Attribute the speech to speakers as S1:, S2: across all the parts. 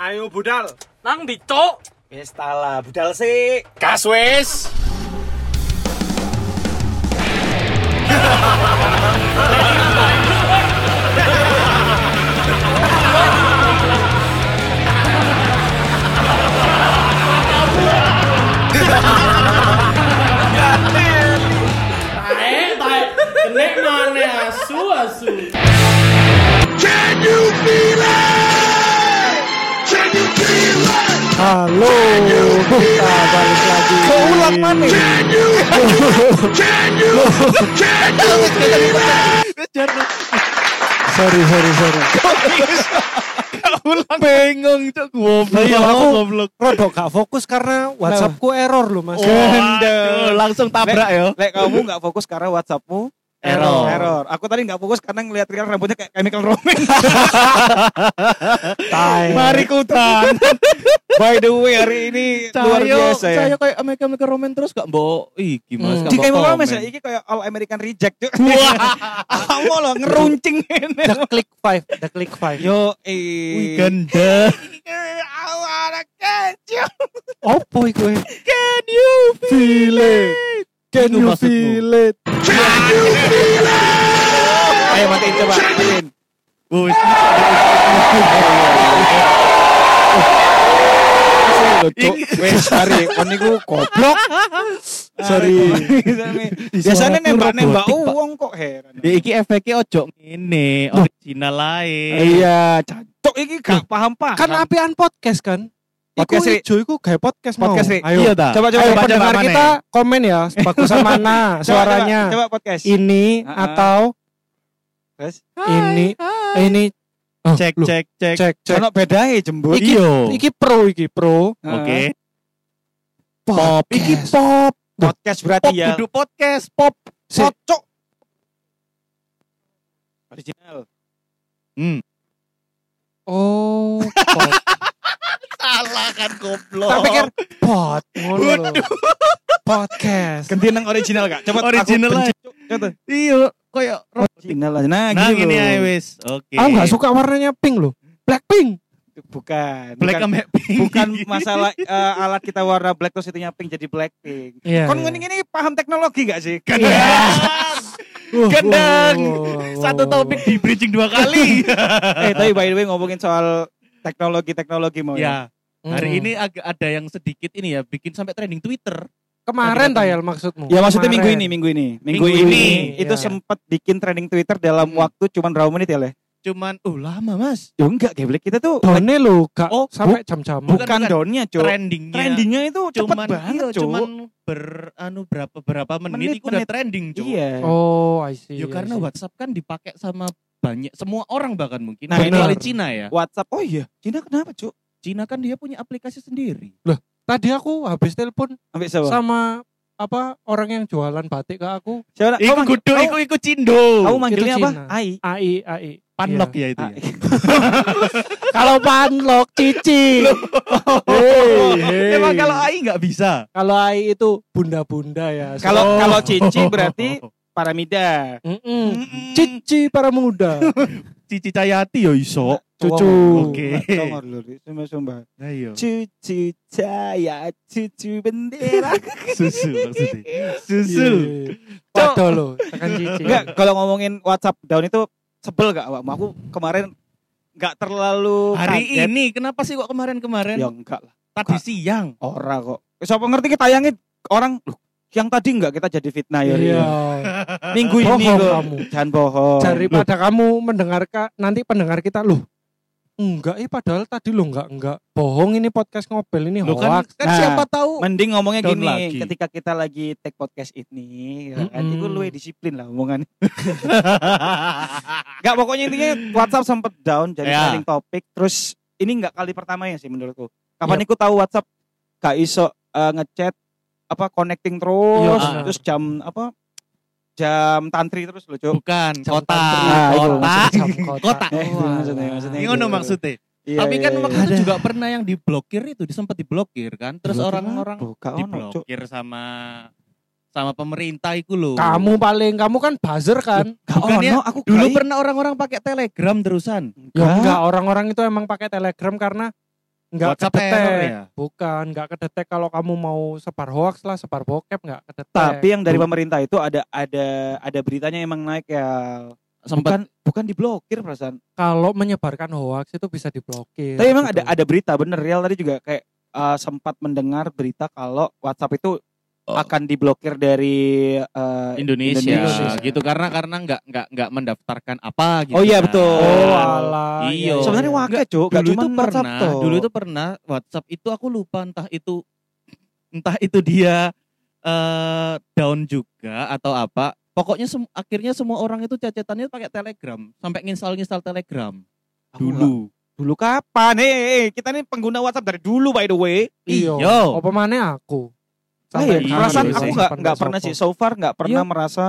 S1: Ayo budal.
S2: Nang ndi, Cuk?
S3: Wis tala, budal sik.
S4: Gas wis.
S5: Eh, tai. Kene maneh asu asu.
S6: Halo, kita balik lagi. Keulang mana? Sorry, sorry, sorry.
S7: Bengong cok goblok.
S6: Iya,
S7: aku
S6: aku-
S7: goblok.
S6: Rodo gak fokus karena WhatsAppku error loh mas.
S3: Oh,
S7: Waduh, langsung tabrak yo.
S3: Lek kamu nggak fokus karena WhatsAppmu
S7: Error.
S3: Error. Aku tadi nggak fokus karena ngeliat Rian rambutnya kayak chemical romance.
S6: Tai.
S7: Mari kutan.
S3: By the way, hari ini luar biasa ya.
S7: Saya kayak Amerika Amerika Roman terus gak mbok iki Mas. gak
S6: Hmm.
S3: Di
S7: mbok
S3: chemical
S7: komen.
S3: romance ya, ini kayak all American reject. Kamu loh ngeruncing ini.
S6: The click five, the click five.
S3: Yo,
S7: Wih,
S3: eh.
S7: ganda.
S6: Opo iku?
S7: Can you feel it?
S6: Kan
S7: Can you feel it?
S3: Ayo matiin coba. Matiin.
S7: Wis.
S3: Cuk, wes sorry, kon niku goblok.
S7: Sorry. suaraku
S3: Biasanya nembak-nembak
S7: robotik, Pak.
S3: uang kok heran.
S7: Ya iki efeknya ojo ngene, original
S3: Eh,
S7: lain.
S6: Iya, Cak.
S3: Cuk iki gak paham-paham.
S6: kan apian podcast kan?
S3: Podcast,
S6: iku
S3: Ri.
S6: ijo iku gawe podcast mau.
S3: Podcast, Ri.
S6: Ayo.
S7: Iya ta.
S3: Coba coba
S6: Ayo
S3: coba,
S6: pendengar
S7: mana?
S6: kita komen ya, bagusan mana
S3: coba,
S6: suaranya.
S3: Coba, coba podcast.
S6: Ini
S3: Ah, ah.
S6: atau
S3: Terus
S6: ini ini Oh,
S7: cek
S6: loh,
S7: cek cek.
S6: cek cek.
S3: ono bedae jembut.
S6: Iki-
S7: Iyo.
S6: Iki pro iki pro.
S3: Ah,
S7: Oke.
S6: Pop. Iki pop.
S3: Podcast
S7: Pop
S3: berarti ya.
S7: kudu podcast pop.
S6: Si-
S3: Cocok. Original.
S7: Hmm.
S6: Oh, pop.
S7: Salah kan goblok.
S6: Tak pikir
S7: Oh.
S6: pot ngono lho. Podcast.
S3: Ganti nang original gak? Coba
S7: Original
S3: aku
S7: aja.
S3: benci, Cuk. Coba.
S7: Iyo, koyo
S3: Original aja. Nah,
S7: Nah,
S3: gini
S7: gini
S3: loh.
S7: ae wis. Oke.
S6: Aku gak suka warnanya pink loh. Blackpink.
S3: Bukan.
S7: Black
S3: bukan,
S7: and pink. Iya.
S3: bukan masalah eh, alat kita warna black terus itunya pink jadi blackpink.
S6: Iya.
S3: Kon ngene ini paham teknologi gak sih?
S7: Gendang. Uh, Gendang.
S6: Wah, wah, wah, wah,
S7: Satu
S6: wah.
S7: topik di bridging dua kali.
S3: eh tapi by the way ngomongin soal teknologi teknologi mau ya.
S7: ya, hari
S6: Hmm.
S7: ini agak ada yang sedikit ini ya bikin sampai trending Twitter.
S6: Hmm. Kemarin Tayal maksudmu?
S3: Ya maksudnya minggu
S6: Kemarin.
S3: ini, minggu ini,
S7: Minggu
S3: minggu,
S7: ini,
S3: ini,
S6: iya.
S3: itu sempat bikin trending Twitter dalam
S7: Hmm.
S3: waktu cuman berapa menit ya leh?
S7: Cuman oh lama, Mas.
S3: Ya enggak, geblek kita tuh
S6: Done lho, gak
S3: Oh,
S6: sampai jam-jam.
S7: bukan,
S3: bukan,
S7: bukan.
S3: downnya cuy.
S7: Trendingnya
S3: Trendingnya itu cepet
S7: cuman
S3: banget
S7: iya,
S3: cuy.
S7: cuman ber anu berapa berapa menit,
S3: Menit,
S7: itu udah
S3: menit.
S7: trending, cuy.
S3: iya.
S6: Oh, I see.
S7: Ya karena
S6: I see.
S7: WhatsApp kan dipakai sama banyak semua orang bahkan mungkin.
S3: Nah,
S7: kecuali
S6: benar.
S7: Cina ya.
S3: WhatsApp. Oh iya, Cina kenapa cuy?
S7: Cina kan dia punya aplikasi sendiri.
S6: Tadi aku habis telepon
S3: Ambil siapa?
S6: sama apa orang yang jualan batik ke aku.
S3: Siapa?
S7: Iku
S3: Kamu-
S7: kudu,
S3: kamu-
S7: iku iku Cindo.
S3: Kamu manggilnya
S6: Itu
S3: apa?
S6: Cina.
S3: Ai. Ah,
S6: AI, AI.
S7: Panlok
S6: Iya.
S7: ya itu.
S3: Ai.
S7: Ya.
S6: Kalau panlok cici. Hei, hei.
S7: Emang kalau AI nggak bisa.
S6: kalau AI itu bunda-bunda ya.
S3: Kalau
S6: So-
S3: kalau cici
S7: Oh.
S3: berarti paramida.
S6: Mm-mm.
S3: Hmm.
S6: cici para muda.
S7: Cici Cayati ya iso. Ya
S6: Cucu. Iya.
S7: Oke.
S3: Tongor lho, sumpah-sumpah.
S7: Ayo.
S3: Cucu cahaya, cucu bendera.
S6: Iya.
S7: Susu maksudnya. Susu.
S6: Waduh lo, Iya. tekan cici.
S3: Enggak, kalau ngomongin WhatsApp down itu sebel gak awakmu? Aku kemarin gak terlalu
S7: Hari
S3: kaget.
S7: ini kenapa sih kok kemarin-kemarin?
S3: Ya enggak lah,
S7: Tadi siang.
S3: ora kok. Siapa ngerti kita tayangin orang loh, yang tadi enggak kita jadi fitnah ya. Ri.
S6: Iya.
S3: Minggu ini
S6: Bohong
S3: loh.
S6: kamu.
S3: Jangan bohong.
S6: Daripada kamu mendengarkan nanti pendengar kita loh. Enggak, eh padahal tadi lo enggak enggak bohong ini podcast ngobel ini
S7: Lo kan,
S6: hoax.
S7: kan
S3: Nah,
S7: siapa tahu
S3: Mending ngomongnya
S7: Down
S3: gini,
S7: lagi.
S3: ketika kita lagi take podcast ini, ya kan,
S6: Mm-mm.
S3: itu lu disiplin lah omongan. Gak pokoknya intinya WhatsApp sempet down jadi
S7: Ya.
S3: trending topik. Terus ini nggak kali pertamanya sih menurutku. Kapan aku tahu WhatsApp gak iso eh, ngechat apa connecting terus,
S6: Iya, benar.
S3: terus jam apa jam tantri terus loh cok.
S7: bukan
S6: Jam
S7: kota.
S6: tantri.
S3: Ah, itu
S7: Kota.
S6: Jam kotak.
S7: Kota.
S3: Eh,
S6: Oh,
S3: maksudnya,
S6: alah.
S3: maksudnya.
S7: Ini ngono maksudnya.
S3: Iya,
S7: Tapi kan
S3: iya,
S7: waktu
S3: iya.
S7: itu juga pernah yang diblokir itu sempat diblokir kan. Terus
S3: Blokir
S7: orang-orang
S3: apa? Gak ono, Cuk.
S7: diblokir sama sama pemerintah itu loh.
S6: Kamu paling kamu kan buzzer kan?
S3: Gak
S7: Bukan ya,
S3: ono, aku
S7: Dulu
S3: gak-
S7: pernah orang-orang pakai Telegram terusan.
S6: Ya enggak, orang-orang itu emang pakai Telegram karena nggak
S7: WhatsApp error
S6: kedetek.
S7: ya?
S6: Bukan, nggak kedetek kalau kamu mau sebar hoax lah, sebar bokep nggak kedetek.
S3: Tapi yang dari pemerintah itu ada ada ada beritanya emang naik ya.
S7: Sempat
S3: Bukan bukan diblokir perasaan.
S6: kalau menyebarkan hoax itu bisa diblokir.
S7: Iya,
S3: Tapi emang
S6: gitu.
S3: ada ada berita bener real tadi juga kayak eh, sempat mendengar berita kalau WhatsApp itu
S7: Oh.
S3: akan diblokir dari eh,
S7: Indonesia,
S3: Indonesia.
S7: gitu karena karena nggak nggak nggak mendaftarkan apa gitu.
S3: Oh iya,
S7: kan.
S3: betul. Oh,
S6: Oh, alah.
S7: Iya.
S6: ya,
S3: Sebenarnya
S6: ya.
S3: wakil cuk, gak
S7: dulu
S3: cuma
S7: itu
S3: WhatsApp
S7: pernah,
S3: toh.
S7: dulu itu pernah WhatsApp itu aku lupa entah itu entah itu dia eh down juga atau apa. Pokoknya sem- akhirnya semua orang itu cacetannya pakai Telegram, sampai nginstal-nginstal Telegram
S3: Aku nggak-
S7: dulu.
S3: dulu kapan? Eh, eh, eh, kita nih pengguna WhatsApp dari dulu by the way.
S6: Iya.
S7: Iya.
S6: Apa mana aku?
S3: Ah,
S7: Sampai
S3: iya,
S7: kapan
S3: perasaan
S7: dulu
S3: aku
S7: sih?
S3: nggak nggak pernah sih so far nggak pernah merasa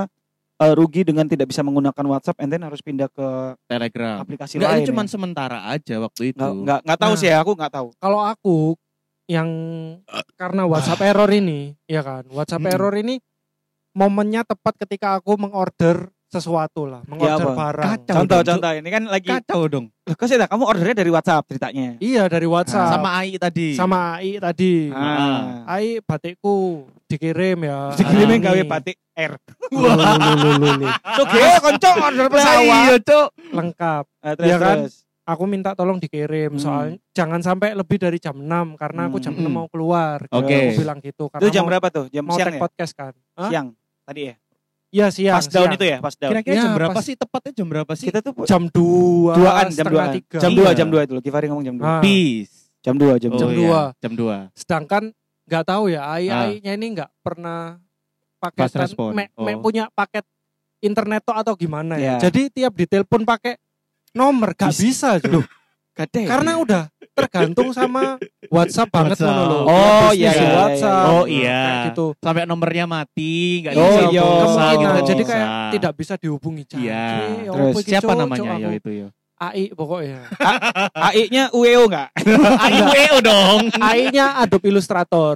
S3: eh, rugi dengan tidak bisa menggunakan WhatsApp and then harus pindah ke
S7: Telegram.
S3: aplikasi
S7: Hmm. Enggak,
S3: lain. ya.
S7: itu cuma sementara aja waktu itu.
S3: Nggak, nggak, nggak tahu
S6: Nah.
S3: sih ya, aku nggak tahu.
S6: Kalau aku yang karena
S7: Ah.
S6: WhatsApp error ini, ya kan? WhatsApp
S3: Mm-mm.
S6: error ini momennya tepat ketika aku mengorder sesuatu lah, mengorder
S3: Iya, apa?
S6: barang.
S7: Kacau. dong,
S3: Contoh-contoh ini kan lagi,
S7: Kacau dong.
S3: loh, kok sih dah, kamu ordernya dari WhatsApp ceritanya.
S6: Iya dari WhatsApp.
S7: Sama AI tadi.
S6: Sama AI tadi.
S7: Iya.
S3: Ah.
S6: Ai batikku dikirim ya.
S3: Dikirimin
S6: hari
S3: gawe
S6: ini.
S3: batik R.
S6: Lululululu.
S3: Oke, konco order pesawat.
S7: Iya, Cok.
S6: Lengkap.
S3: Eh, terus,
S6: Iya kan?
S3: terus.
S6: Aku minta tolong dikirim
S3: Hmm.
S6: soalnya jangan sampai lebih dari jam 6 karena aku jam
S7: Hmm.
S6: 6 mau keluar. Gitu.
S7: Oke.
S6: Aku bilang gitu karena
S3: Itu jam
S6: mau,
S3: berapa tuh? Jam
S6: mau
S3: siang
S6: take
S3: ya?
S6: podcast kan. Hah?
S3: Siang. Tadi ya.
S6: Iya siang.
S3: Pas down
S6: siang.
S3: itu ya, pas down.
S7: Kira-kira
S6: Ya,
S7: jam berapa
S6: pas-
S7: sih tepatnya jam berapa sih? Nah.
S3: Kita tuh
S6: Jam 2.
S3: duaan, jam dua, jam
S6: Ah.
S3: dua,
S7: Iya.
S3: jam dua itu. Givari ngomong jam dua,
S7: Peace.
S3: jam dua, jam
S7: Oh,
S3: dua.
S6: Jam
S7: iya.
S6: dua.
S7: Jam 2.
S6: Sedangkan nggak tahu ya
S7: Ah.
S6: AI-nya ini nggak pernah
S7: Fast
S6: paketan
S7: respon.
S6: me- me-
S7: Oh.
S6: punya paket internet toh atau gimana ya.
S3: Iya.
S6: Jadi tiap ditelepon pakai nomor gak bisa Jo.
S3: Gade.
S6: karena udah tergantung sama WhatsApp banget
S7: WhatsApp.
S6: ngono lho.
S7: Oh, iya,
S6: Bisnis di
S7: iya, iya.
S6: WhatsApp.
S7: Oh, iya.
S6: Kayak gitu.
S7: Sampai nomornya mati, nggak
S3: Oh,
S7: bisa
S3: iya.
S7: hubungin.
S6: Kemungkinan.
S7: Nggak
S6: Jadi
S7: bisa.
S6: kayak tidak bisa dihubungi Cak.
S7: Iya.
S6: Jadi, ya
S3: Terus
S6: apa iki,
S7: siapa
S6: Cok?
S7: namanya
S6: Cok,
S7: yo
S6: aku
S7: itu yo?
S6: AI pokoknya.
S3: AI-nya UEO enggak?
S7: AIWO dong.
S6: AI-nya Adobe Illustrator.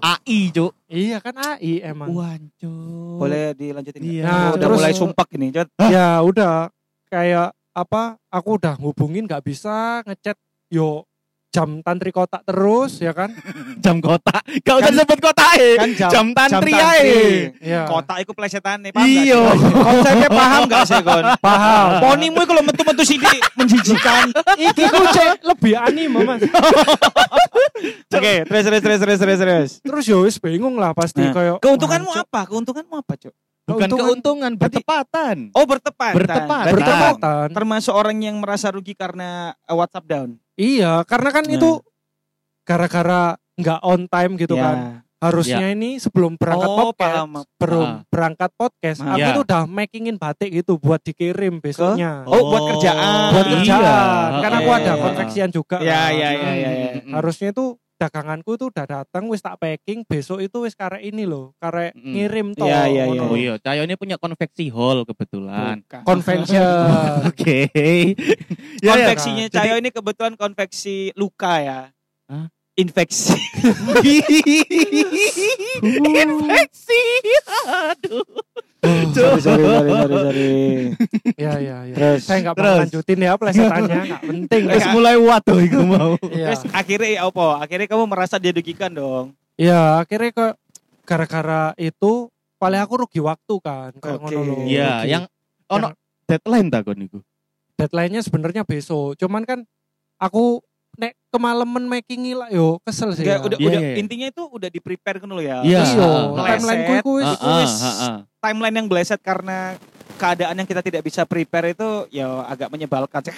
S7: AI, Cuk.
S6: Iya kan AI emang.
S7: Wancu.
S3: Boleh dilanjutin. nggak?
S7: Iya.
S6: Nah,
S3: Oh, udah
S6: terus-
S3: mulai sumpah ini. Jod.
S6: Ya udah kayak apa? Aku udah hubungin nggak bisa ngechat yo jam tantri kotak terus ya kan?
S7: jam kota. Gak usah
S3: Kan-
S7: disebut kota eh.
S3: Kan jam,
S7: Jam tantri ae.
S6: Iya.
S3: Kota iku plesetan nih, paham nggak
S7: Iya.
S3: sih? Konsepnya paham gak sih, Gon?
S6: Paham.
S3: Ponimu iku lo metu-metu sidik menjijikan.
S6: Iki ku cek lebih anime Mas.
S3: Oke, terus terus terus terus terus terus.
S6: Terus yo wis bingung lah pasti
S3: Nah,
S6: kayak
S3: Keuntunganmu
S6: "Wah, Cok,
S3: apa? Keuntunganmu apa, Cuk?
S7: Bukan
S6: keuntungan-
S7: keuntungan, bertepatan.
S3: Oh, bertepatan.
S7: Bertepatan.
S3: Berarti kamu
S6: bertepatan.
S3: termasuk orang yang merasa rugi karena eh, WhatsApp down.
S6: Iya, karena kan
S7: Nah.
S6: itu gara-gara nggak on time gitu
S3: Ya.
S6: kan. Harusnya ini sebelum berangkat
S3: Oh,
S6: podcast,
S3: paham.
S6: sebelum
S7: Ah.
S6: berangkat podcast,
S3: Ah.
S6: aku
S7: Ya.
S6: tuh udah makingin batik gitu buat dikirim besoknya.
S3: Oh, buat kerjaan.
S6: buat
S3: iya.
S6: kerjaan.
S7: Oh,
S6: Karena aku
S3: Iya,
S6: ada
S3: iya.
S6: konveksian juga.
S3: Ya,
S6: kan.
S3: ya, ya,
S7: Iya,
S6: Nah,
S3: ya, ya.
S7: Hmm.
S6: Harusnya itu daganganku tuh udah datang wis tak packing, besok itu wis karek ini loh, karek
S7: Mm-mm.
S6: ngirim toh.
S3: Iya, iya,
S7: Oh
S6: ngono.
S7: iya, Cayo ini punya konveksi hall kebetulan.
S3: Bukan.
S6: Convention.
S7: Oke. Ya, ya.
S6: Jadi-
S3: Konveksinya Cayo ini kebetulan konveksi luka ya.
S7: Hah?
S3: Infeksi.
S7: Infeksi. Aduh.
S3: sorry, sorry, sorry, sorry, sorry.
S6: Iya, iya, iya.
S3: Terus,
S6: Saya nggak
S7: terus.
S6: mau lanjutin ya plesetannya, nggak penting.
S7: Wes mulai waduh iku mau.
S6: Iya.
S3: Terus akhirnya ya apa? Akhirnya kamu merasa dirugikan dong.
S6: Ya akhirnya kok gara-gara itu paling aku rugi waktu kan kayak
S3: Oke.
S6: ngono lho.
S7: Iya,
S6: Rugi.
S7: yang ono deadline ta kon niku.
S6: deadline-nya sebenarnya besok. Cuman kan aku nek kemalaman making lah yo kesel sih. ya.
S3: Enggak, udah,
S7: Iya,
S3: udah
S7: iya, iya.
S3: intinya itu udah di prepare kan dulu ya.
S7: Iya.
S3: Terus
S6: Iya,
S7: Ah,
S6: timeline ku
S3: meleset.
S6: iku wis-
S7: Ah,
S3: wis.
S7: ah, ah, ah.
S3: timeline yang bleset karena keadaan yang kita tidak bisa prepare itu ya agak menyebalkan. Cek.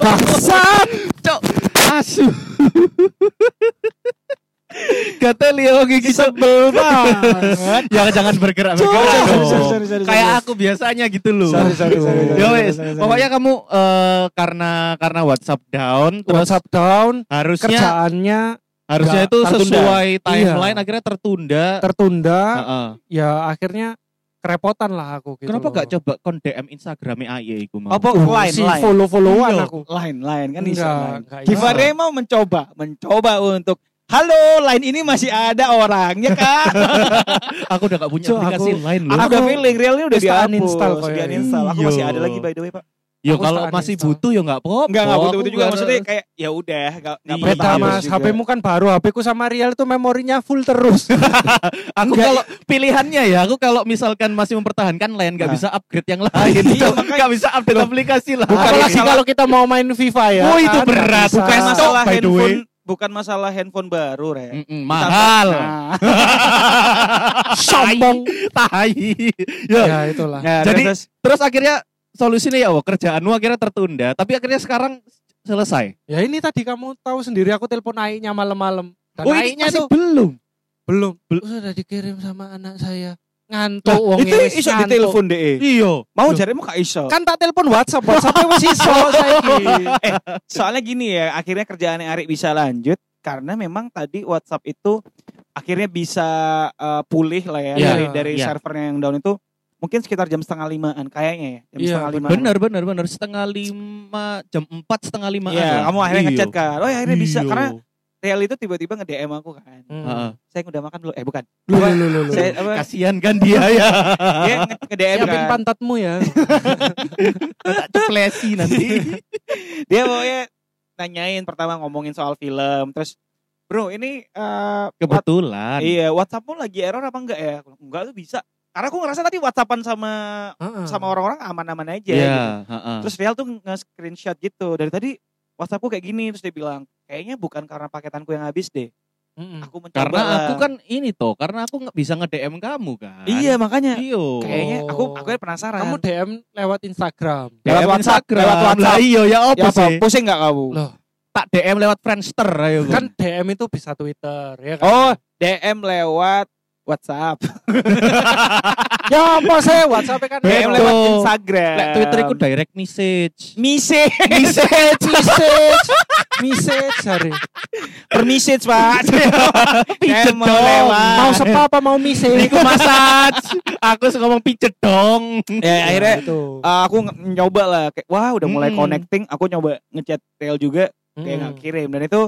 S7: Bangsat, cok. Asu. Kata Leo gigi ya, sebel banget. ya jangan bergerak bergerak
S3: Sorry,
S7: dong.
S3: sorry, sorry, sorry,
S7: Kayak
S3: sorry.
S7: aku biasanya gitu loh.
S3: Sorry, sorry, sorry, sorry,
S7: Ya
S3: sorry,
S7: wes,
S3: sorry, sorry.
S7: pokoknya kamu eh, karena karena WhatsApp down terus
S6: WhatsApp down,
S7: harusnya
S6: kerjaannya
S7: harusnya
S6: nggak
S7: itu
S6: tertunda.
S7: sesuai timeline
S6: Iya.
S7: akhirnya tertunda.
S6: tertunda,
S7: Heeh.
S6: ya akhirnya kerepotan lah aku gitu.
S7: Kenapa
S6: loh.
S7: gak coba kon DM Instagramnya AY iku mau?
S3: Apa
S6: Uh,
S3: lain
S6: si
S3: lain?
S6: follow-followan
S3: Iya,
S6: aku.
S3: Lain lain kan bisa.
S6: Enggak,
S3: lain.
S6: enggak iso.
S3: Givari mau mencoba, mencoba untuk Halo, lain ini masih ada orangnya kan?
S7: Aku udah gak punya
S6: Cok,
S7: aplikasi
S6: aku-
S7: lain loh.
S3: aku udah feeling realnya udah
S6: Terus tak
S3: dihapus,
S6: uninstall kok ya.
S3: uninstall. Aku
S7: Iya.
S3: masih ada lagi by the way pak.
S7: Yo
S6: Aku
S7: kalau
S6: setahun
S7: masih
S6: install.
S7: butuh ya nggak apa-apa.
S3: Enggak, enggak butuh-butuh
S7: Aku
S3: juga
S7: nggak-
S3: maksudnya kayak ya udah enggak enggak
S7: Iya,
S6: Beda
S7: Iya,
S6: mas, HP-mu kan baru, HP-ku sama Rial itu memorinya full terus.
S7: Aku
S6: Nggak-
S7: kalau pilihannya ya, aku kalau misalkan masih mempertahankan lain nggak
S6: Nah.
S7: bisa upgrade yang lain,
S3: Iya, makanya-
S7: nggak bisa update aplikasi lah.
S3: Bukan
S6: Apalagi
S3: masalah-
S6: kalau kita mau main FIFA ya.
S7: Oh, itu
S6: kan, nggak
S7: berat.
S6: bisa.
S3: bukan
S7: Ah,
S3: masalah
S7: by the way.
S3: handphone, bukan masalah handphone baru, Re.
S7: Mm-mm, mahal.
S3: Nah,
S7: Sombong, tai. Ya,
S6: Ya itulah.
S3: nah,
S7: Jadi-
S3: terus-
S7: Terus akhirnya solusinya ya, wah, kerjaanmu akhirnya tertunda, tapi akhirnya sekarang selesai.
S6: Ya ini tadi kamu tahu sendiri aku telepon Ai-nya malam-malam. Dan
S7: Oh, ini
S6: Ai-nya
S7: masih
S6: tuh
S7: belum.
S6: belum. Sudah dikirim sama anak saya. Ngantuk
S3: Tuh,
S6: wong
S3: itu
S6: ini, wis
S3: iso
S6: ngantuk.
S3: ditelepon DE.
S7: Iya.
S3: Mau jarimu gak iso.
S6: Kan tak telepon WhatsApp, WhatsApp e wis iso saiki.
S3: eh, soalnya gini ya, akhirnya kerjaannya Ari bisa lanjut karena memang tadi WhatsApp itu akhirnya bisa eh, pulih lah ya
S7: Iya,
S3: dari dari
S7: iya.
S3: servernya yang down itu mungkin sekitar jam setengah limaan kayaknya ya jam
S6: Iya,
S3: setengah limaan.
S7: Benar, benar, benar. Setengah lima, jam empat setengah lima.
S3: Iya, kamu akhirnya ngechat kan. Oh, ya, akhirnya bisa
S7: Iya.
S3: karena Real itu tiba-tiba nge-DM aku kan.
S6: Hmm.
S3: Saya udah makan belum? Eh, bukan.
S6: Lu, lu, lu, lu.
S3: Saya apa?
S7: Kasihan kan dia ya.
S3: Dia nge- nge-DM
S6: Siapin
S3: kan.
S6: pantatmu ya.
S7: Tak ceplesi nanti.
S3: Dia pokoknya nanyain pertama ngomongin soal film, terus Bro, ini eh, what-
S7: Kebetulan.
S3: Iya, WhatsAppmu lagi error apa enggak ya? Aku bilang, Enggak tuh bisa. Karena aku ngerasa tadi WhatsAppan sama
S6: Heeh.
S3: sama orang-orang aman-aman
S7: Hmm.
S3: aja.
S7: Iya,
S3: gitu.
S7: heeh.
S3: Terus Real tuh nge-screenshot gitu. Dari tadi WhatsAppku kayak gini terus dia bilang, "Kayaknya bukan karena paketanku yang habis deh.
S6: Mm-mm.
S3: Aku mencoba."
S7: Hmm. karena
S3: lah."
S7: aku kan ini toh, karena aku nggak bisa nge-DM kamu kan.
S3: Iya, makanya
S7: Iyo.
S3: kayaknya aku aku
S6: Oh.
S3: penasaran. Ya,
S6: Kamu DM lewat Instagram.
S3: lewat
S7: DM
S3: WhatsApp,
S7: Instagram.
S3: lewat WhatsApp.
S7: Lah iya, ya apa
S3: ya apa?
S7: sih?
S3: Pusing enggak kamu?
S6: Loh.
S7: Tak DM lewat Friendster ayo.
S6: Kan DM itu bisa Twitter ya kan.
S3: Oh, DM lewat WhatsApp.
S6: Ya apa sih WhatsApp kan
S3: DM
S7: Betul.
S3: lewat Instagram.
S7: Lek Twitter iku direct message.
S3: message,
S6: message message message sorry.
S3: per message, Pak.
S7: Pijet
S3: Emang
S7: dong.
S3: Iya, lewat.
S6: Mau sepa apa mau message?
S7: Iku massage. Aku suka ngomong pijet dong.
S3: ya, akhirnya
S6: itu.
S3: Uh, aku nge- nyoba lah kayak wah udah mulai
S7: Mm-mm.
S3: connecting aku nyoba ngechat Tel juga
S7: Hmm.
S3: kayak nggak kirim dan itu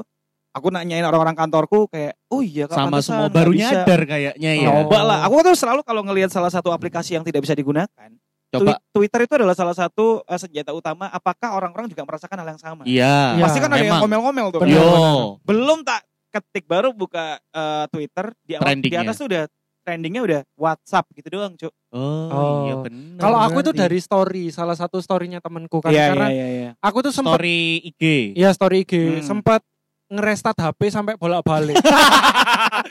S3: aku nanyain orang-orang kantorku kayak oh iya Kak,
S7: Sama
S3: pantesan
S7: semua
S3: nggak
S7: baru
S3: bisa."
S7: nyadar kayaknya ya.
S6: Oh.
S3: nyoba lah aku tuh selalu kalau ngelihat salah satu aplikasi yang tidak bisa digunakan
S7: Coba.
S3: Twi- Twitter itu adalah salah satu uh, senjata utama apakah orang-orang juga merasakan hal yang sama
S7: Iya.
S3: pasti kan ada yang
S7: memang.
S3: ngomel-ngomel tuh kan.
S7: Yo.
S3: belum tak ketik baru buka uh, Twitter di, awal, di
S7: Trendingnya.
S3: atas tuh udah trendingnya udah WhatsApp gitu doang cuk
S7: Oh, iya
S6: Oh.
S7: benar.
S6: Kalau aku itu
S7: berarti.
S6: dari story, salah satu storynya temanku kan
S3: Iya,
S6: karena
S3: iya, iya, iya.
S6: aku tuh sempat
S7: story IG.
S6: ya story IG
S3: Hmm.
S6: sempat ngerestat HP sampai bolak-balik.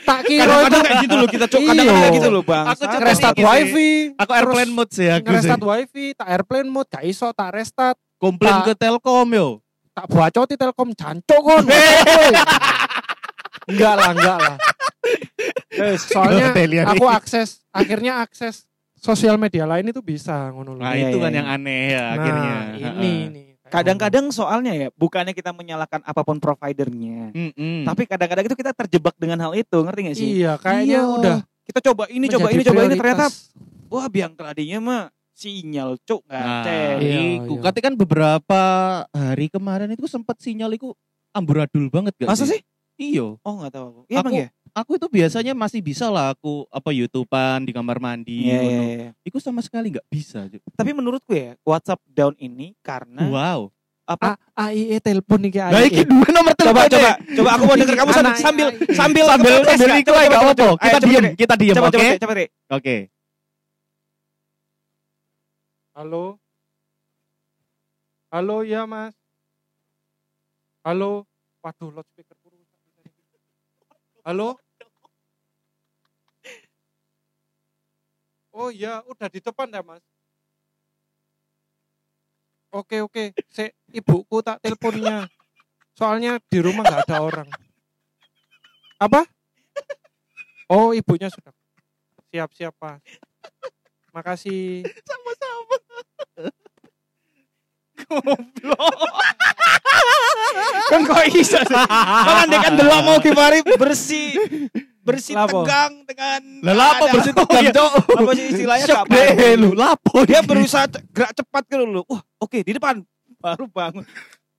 S6: tak kira itu
S3: kadang-kadang kayak gitu loh kita cuk kadang-kadang
S6: Iya.
S3: kayak gitu loh bang
S7: Aku cek
S6: ngerestat
S7: Kadang-kadang gitu.
S6: wifi,
S7: Aku airplane
S6: Terus
S7: mode sih aku sih.
S6: ngerestat
S3: eh.
S6: wifi, tak airplane mode, gak iso tak restat,
S7: Komplain ke Telkom yo.
S6: tak bacoti Telkom jancuk kon. enggak lah, enggak lah. Soalnya
S7: Telia
S6: aku
S7: nih.
S6: akses akhirnya akses sosial media lain itu bisa ngono loh.
S7: Nah,
S6: Nah,
S3: Iya,
S7: itu
S3: iya,
S7: kan
S3: iya.
S7: yang aneh ya akhirnya.
S6: ini nih.
S3: Kadang-kadang soalnya ya, bukannya kita menyalahkan apapun providernya.
S7: Mm-mm.
S3: Tapi kadang-kadang itu kita terjebak dengan hal itu, ngerti gak sih?
S6: iya kayaknya
S7: Iya.
S6: udah
S3: Kita coba ini, coba
S6: menjadi
S3: ini, coba ini, ternyata
S6: prioritas.
S3: wah biang keladinya mah sinyal cuk nggak
S7: Nah,
S3: cek.
S6: iya,
S7: iku.
S6: iya.
S7: Katanya kan beberapa hari kemarin itu sempat sinyal itu amburadul banget gak
S3: Masa sih?
S7: Iya.
S3: Oh nggak tahu aku. Iya
S7: Aku-
S3: emang ya?
S7: Aku itu biasanya masih bisa lah aku apa YouTubean di kamar mandi.
S3: Iya, iya,
S7: ngono.
S3: iya.
S7: Iku sama sekali nggak bisa. Cuk.
S3: Tapi menurutku ya, WhatsApp down ini karena
S7: Wow.
S3: apa?
S6: AIE E telepon nih AIE.
S7: Nah, iki dua nomor telepon.
S3: iya. coba coba coba aku mau denger kamu
S6: Anak,
S3: sambil E.
S6: anak,
S3: sambil
S6: anak.
S3: sambil
S7: Sambil
S3: sambil
S7: sambil
S3: tes,
S7: iku
S3: coba,
S7: ae
S3: coba,
S7: gak apa-apa.
S3: coba. Ayo,
S7: Kita
S3: coba,
S7: diem,
S3: coba,
S7: kita diem,
S3: Coba coba
S7: oke?
S3: coba Re.
S7: Oke.
S6: Halo. Halo ya Mas. Halo. Waduh loudspeaker ku rusak. Halo. Oh iya, udah di depan ya Mas. Oke oke, Sik, ibuku tak teleponnya. Soalnya di rumah nggak ada orang. Apa? Oh ibunya sudah. Siap siap Pak. Makasih.
S7: Sama-sama. Goblok.
S3: Kan kok iso sih? Kan andai kan delok mau Givari bersih bersih
S6: Lapo?
S3: tegang dengan
S7: Lah lapo bersih
S3: Iya,
S7: tegang, Cuk.
S3: apa sih istilahnya
S7: Shock
S3: gak paham.
S7: deh lu, lapo
S3: dia berusaha te- gerak cepat gitu loh wah oke di depan baru bangun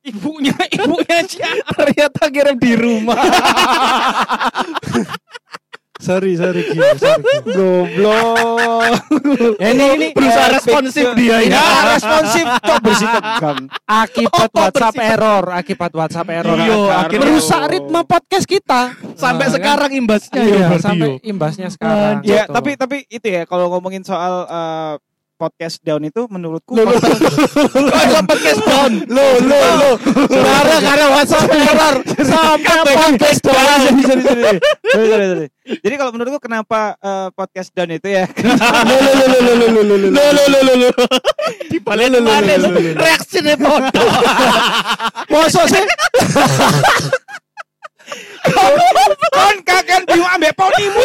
S3: ibunya ibunya siapa
S7: ternyata kirim di rumah.
S6: sorry sorry Gio, sorry, Gio.
S3: Goblok.
S6: ini ini
S3: eh,
S7: berusaha responsif dia ya.
S3: Ya, responsif kok bersih tegang.
S6: akibat
S7: Otot
S6: WhatsApp
S7: bersih.
S6: error akibat WhatsApp error
S7: Iya,
S6: Karena
S7: akhirnya-
S6: merusak ritme podcast kita
S7: Sampai
S6: Nah, kan?
S7: sekarang imbasnya ya
S6: iya,
S7: berarti
S6: sampai
S7: yo.
S6: imbasnya sekarang
S3: Ya,
S6: gitu.
S3: tapi tapi itu ya kalau ngomongin soal eh, podcast down itu menurutku
S7: Kok ada podcast down?
S3: lo lo lo
S6: Karena- karena WhatsApp error sampai podcast down.
S3: Jadi kalau menurutku kenapa eh, podcast down itu ya?
S7: Lo lo lo lo lo. Dibalik mana? Reaksinya bodoh.
S3: Masa sih? Kon kakan Kan bingung ambek ponimu.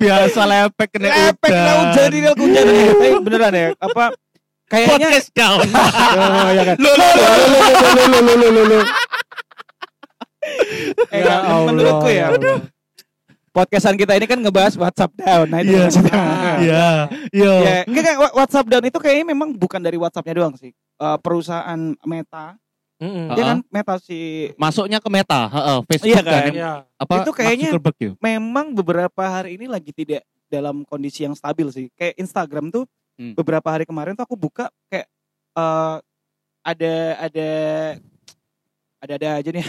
S7: Biasa lepek kena
S3: Lepek lah udah di aku jadi. Tapi beneran ya, apa kayaknya
S7: Podcast down.
S6: Oh, ya kan.
S7: Lo lo lo.
S3: eh,
S6: Ya Allah.
S3: menurutku ya. Podcastan kita ini kan ngebahas WhatsApp down. Nah, itu
S7: Iya.
S3: maksudnya.
S7: Iya. Yo.
S3: Ya, enggak, enggak, wa- WhatsApp down itu kayaknya memang bukan dari WhatsApp-nya doang sih. Eh, perusahaan Meta,
S6: Mm-mm.
S3: dia
S7: Ah.
S3: kan Meta si
S7: Masuknya ke Meta, heeh, Facebook
S3: Iya kan?
S7: yang-
S6: Iya.
S7: Apa
S3: Itu kayaknya-
S7: Mark Zuckerberg yo.
S3: memang beberapa hari ini lagi tidak dalam kondisi yang stabil sih. Kayak Instagram tuh
S7: Hmm.
S3: beberapa hari kemarin tuh aku buka kayak eh, ada ada ada ada aja nih.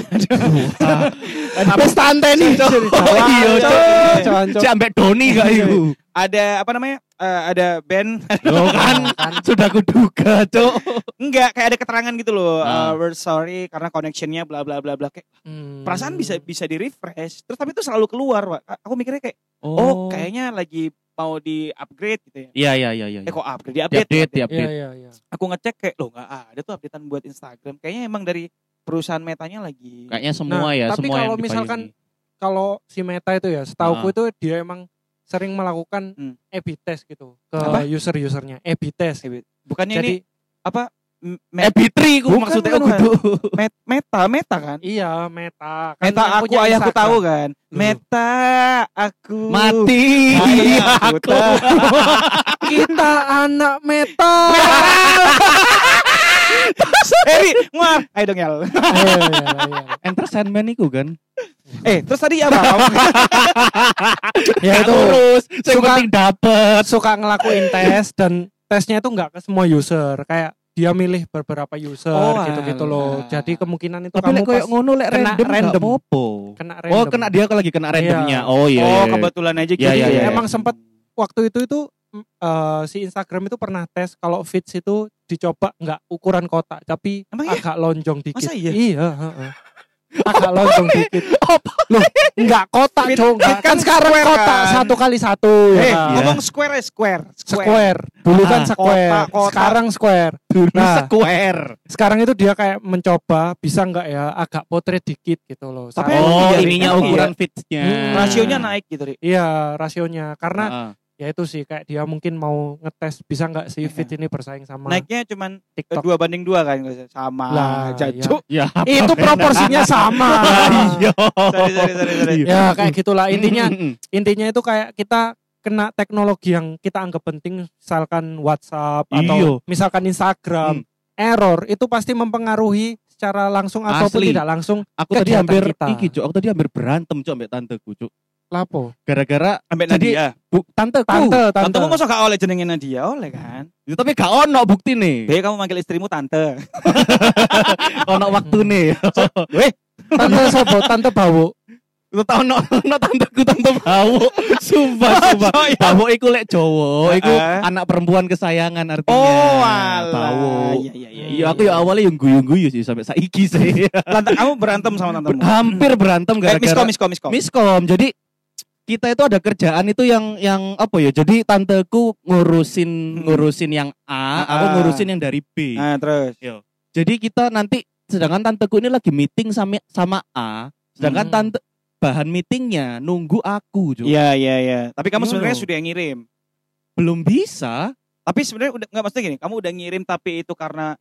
S6: Wes tanteni, Cok.
S7: Oh, iya,
S6: Cok.
S3: Cok.
S6: Jangan, Cok.
S7: Si ambek Doni gak iku?
S3: ada apa namanya? Eh, ada band
S7: Lo kan sudah kuduga, Cok.
S3: enggak kayak ada keterangan gitu loh.
S7: Ah.
S3: Eh, we're sorry karena connectionnya bla bla bla bla kayak
S6: Hmm.
S3: perasaan bisa bisa di refresh. Terus tapi itu selalu keluar, Pak. Aku mikirnya kayak oh, kayaknya lagi mau di upgrade gitu ya.
S7: Iya, iya, iya, iya.
S3: Eh kok upgrade? Di update.
S7: Update, di
S6: Iya
S7: update.
S6: iya iya.
S3: aku ngecek kayak loh nggak ada tuh updatean buat Instagram kayaknya emang dari perusahaan metanya lagi
S7: Kayaknya semua
S6: Nah,
S7: ya,
S6: tapi
S7: semua yang
S6: kalau
S7: dipayungi.
S6: misalkan Kalau si Meta itu ya, setauku itu dia emang sering melakukan
S3: Hmm.
S6: A/B test gitu ke
S3: Apa?
S6: user-usernya A/B test.
S3: bukannya ini
S6: Jadi
S3: apa m-
S7: eh
S3: me-
S7: Bitri ku
S3: Bukan,
S7: maksudnya
S3: bukan,
S7: kudu.
S3: met- meta meta kan
S6: iya Meta. Kan
S3: meta
S6: yang
S3: aku
S6: punya
S3: ayahku
S6: Instagram.
S3: tahu kan
S6: Loh.
S3: meta aku
S7: Mati.
S3: Ayah aku
S7: Aku.
S6: Kita anak Meta. Iya,
S3: Eri muar ayo dong yal
S6: Iya, iya, iya.
S7: Enter Sandman iku kan.
S3: eh terus tadi apa Kamu-
S6: Ya
S7: Gak
S6: itu
S7: Urus, yang
S6: Suka-
S7: penting dapet.
S6: suka ngelakuin tes dan tesnya itu nggak ke semua user kayak dia milih beberapa user
S3: Oh,
S6: gitu-gitu loh.
S3: alah.
S6: Jadi kemungkinan itu
S7: Tapi
S6: kamu
S7: lek koyo
S6: pas
S7: ngono lek
S6: kena
S7: random
S6: random.
S7: gak apa
S6: kena
S7: Oh,
S6: random.
S7: kena dia kalau lagi kena randomnya.
S6: Iya.
S7: Oh iya.
S3: oh
S7: iya, iya.
S3: kebetulan aja
S7: Iya,
S3: gitu
S7: iya,
S3: ya.
S7: iya.
S6: Emang sempet waktu itu itu mm, eh, si Instagram itu pernah tes kalau feeds itu dicoba nggak ukuran kotak tapi
S3: Emang iya?
S6: agak lonjong dikit.
S3: Masa iya?
S6: heeh. Agak lonjong dikit.
S7: Apa?
S6: Loh, nggak kotak
S3: Feed-
S6: dong. nggak.
S3: feed kan
S6: Kan sekarang
S3: square
S6: kotak
S3: kan?
S6: satu kali satu. ya
S3: eh
S6: kan?
S7: Iya.
S3: ngomong square ya, square
S6: Square. Dulu kan
S7: Ah,
S6: square.
S3: kotak, kotak.
S6: Sekarang square.
S7: Dulu
S6: Nah.
S7: square.
S6: Sekarang itu dia kayak mencoba bisa nggak ya agak potret dikit gitu loh.
S3: Tapi
S6: Sekarang-
S3: emang
S7: Oh,
S3: iya,
S7: ininya
S3: emang
S7: ukuran fitnya.
S6: Hmm.
S3: rasionya naik gitu ri
S6: Iya rasionya karena
S7: Heeh.
S6: ya itu sih kayak dia mungkin mau ngetes bisa
S7: Iya.
S6: nggak si fit ini bersaing sama
S3: naiknya cuman eh,
S6: TikTok
S3: dua banding dua kan sama
S6: Nah. Lah,
S3: jancuk
S7: Ya. apa
S6: itu
S7: beda?
S6: proporsinya sama
S7: Iya.
S3: Sorry, sorry, sorry, sorry.
S7: Iya. Hmm,
S6: ya kayak gitulah intinya
S7: Mm-mm.
S6: intinya itu kayak kita kena teknologi yang kita anggap penting misalkan WhatsApp
S7: Iya.
S6: atau misalkan
S7: Hmm.
S6: Instagram error itu pasti mempengaruhi secara langsung ataupun
S7: Asli.
S6: tidak langsung
S7: aku tadi
S6: Kegiatan
S7: hampir
S6: kita.
S7: iki Cuk. aku tadi hampir berantem Cuk ambek tanteku Cuk.
S6: lapo
S7: Gara-gara
S3: ambek
S7: Jadi-
S3: Nadia
S7: bu, tanteku.
S6: tante tante
S3: Tante kamu masa gak oleh jenengin Nadia oleh kan?
S7: Ya, tapi gak ono bukti nih.
S3: Be kamu manggil istrimu tante.
S7: ono waktu nih.
S3: Weh,
S6: tante sobo tante bawo
S7: Lu tau ono ono tanteku tante bau. Sumpah, sumpah. Bau iku lek Jawa, iku
S3: Heeh.
S7: anak perempuan kesayangan artinya.
S3: oh
S7: Bau.
S3: alah. Iya iya iya.
S7: Iya, aku ya awalnya yang guyu-guyu sih sampai saiki sih.
S3: Tante kamu berantem sama tantemu.
S7: Hampir berantem
S3: Eh, miskom
S7: Ah, gara-gara
S3: miskom miskom.
S7: miskom. Jadi kita itu ada kerjaan itu yang yang apa ya? Jadi tanteku ngurusin
S3: Hmm.
S7: ngurusin yang A, aku
S3: Ah.
S7: ngurusin yang dari B.
S3: Nah, terus.
S7: Iya, Jadi kita nanti sedangkan tanteku ini lagi meeting sama sama A, sedangkan
S6: Hmm.
S7: tante bahan meetingnya nunggu aku, Jo.
S3: Iya iya iya. Tapi kamu
S7: Iya
S3: sebenarnya
S7: loh.
S3: sudah ngirim.
S7: Belum bisa
S3: Tapi sebenarnya udah enggak maksudnya gini, kamu udah ngirim tapi itu karena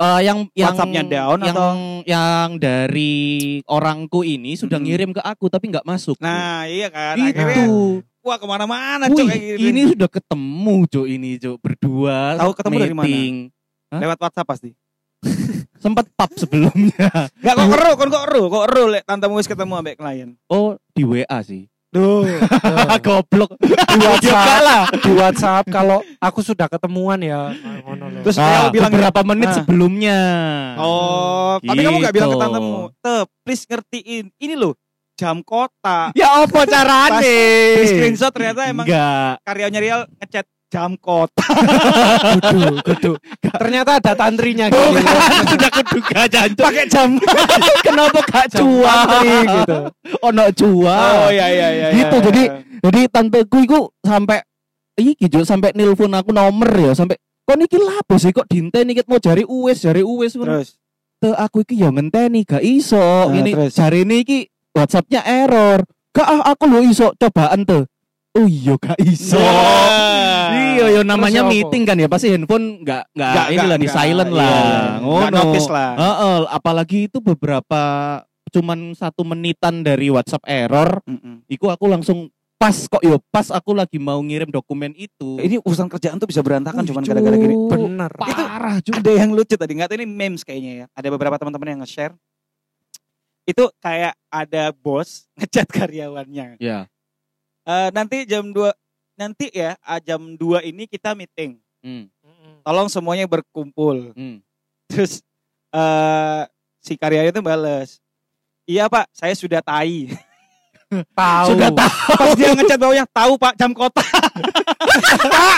S7: eh, yang yang
S3: WhatsApp-nya down
S7: yang,
S3: atau?
S7: yang dari orangku ini sudah
S3: Mm-mm.
S7: ngirim ke aku tapi nggak masuk. Jo.
S3: Hmm. nah iya kan akhirnya
S7: itu.
S3: wah kemana-mana
S7: Wih,
S3: cok kayak gitu.
S7: ini sudah ketemu, Jo, ini, Jo, berdua.
S3: Tahu ketemu dari mana?
S7: meeting.
S3: lewat WhatsApp pasti.
S7: sempat pub sebelumnya.
S3: Enggak kok eru, kon kok eru, kok eru lek tantemu wis ketemu ambek klien.
S7: Oh, di WA sih.
S3: Duh.
S7: Ah, Goblok.
S6: di
S7: Juga
S6: WhatsApp
S7: lah.
S6: Eh, di WhatsApp kalau aku sudah ketemuan ya ngono loh.
S3: Terus
S7: Ah,
S3: L bilang
S7: beberapa menit
S3: Ah.
S7: sebelumnya.
S3: Oh, tapi kamu gak
S7: Gitu.
S3: bilang ke tantemu, "Te, please ngertiin. Ini loh jam kota."
S7: Ya apa carane?
S3: Di screenshot ternyata emang
S7: Enggak.
S3: karyanya Rial ngechat jam kota.
S6: Kudu, kudu. Ternyata ada tantrinya gitu.
S7: Bukan, sudah kuduga jancuk. Pakai jam. Kenapa gak
S6: Tantri
S7: cuan?
S6: gitu.
S7: Ono cuan.
S3: iya iya iya.
S7: Gitu,
S3: iya,
S7: jadi-
S3: iya.
S7: Jadi tanteku iku sampai iki Juk sampai nelpon aku nomor ya sampai kok niki lapo sih kok dinten iki mau jari uwis jari uwis ngono.
S3: terus
S7: Te, aku iki ya ngenteni gak iso ngene
S3: Nah, terus?
S7: jari niki WhatsAppnya error. Gak ah, aku lo iso cobaan te. Oh iya gak iso.
S3: Nah, Oh.
S7: Iya, yo namanya
S6: ya apa?
S7: meeting kan ya pasti handphone nggak nggak
S3: Nggak,
S7: ini lah
S3: nggak,
S7: di
S3: nggak.
S7: silent
S3: Iya,
S7: lah.
S3: iya.
S7: Ngono.
S3: Nggak notice lah.
S7: Heeh, apalagi itu beberapa cuman satu menitan dari WhatsApp error,
S3: Mm-mm.
S7: iku aku langsung pas kok yo pas aku lagi mau ngirim dokumen itu.
S3: Ini urusan kerjaan tuh bisa
S7: Wih,
S3: berantakan kan cuman gara-gara gini.
S7: Cuk,
S6: Bener.
S7: Parah juga.
S3: Ada yang lucu tadi nggak tahu ini memes kayaknya ya. Ada beberapa teman-teman yang nge-share. Itu kayak ada bos ngechat karyawannya.
S7: Ya.
S3: Eh, nanti jam 2 nanti ya ah, jam 2 ini kita meeting.
S7: Hmm.
S3: Tolong semuanya berkumpul.
S7: hmm.
S3: Terus eh si karyawan itu bales. Iya Pak, saya sudah tai.
S6: Tahu.
S7: Sudah tahu.
S3: Pas dia ngechat bawahnya, tahu Pak jam kota.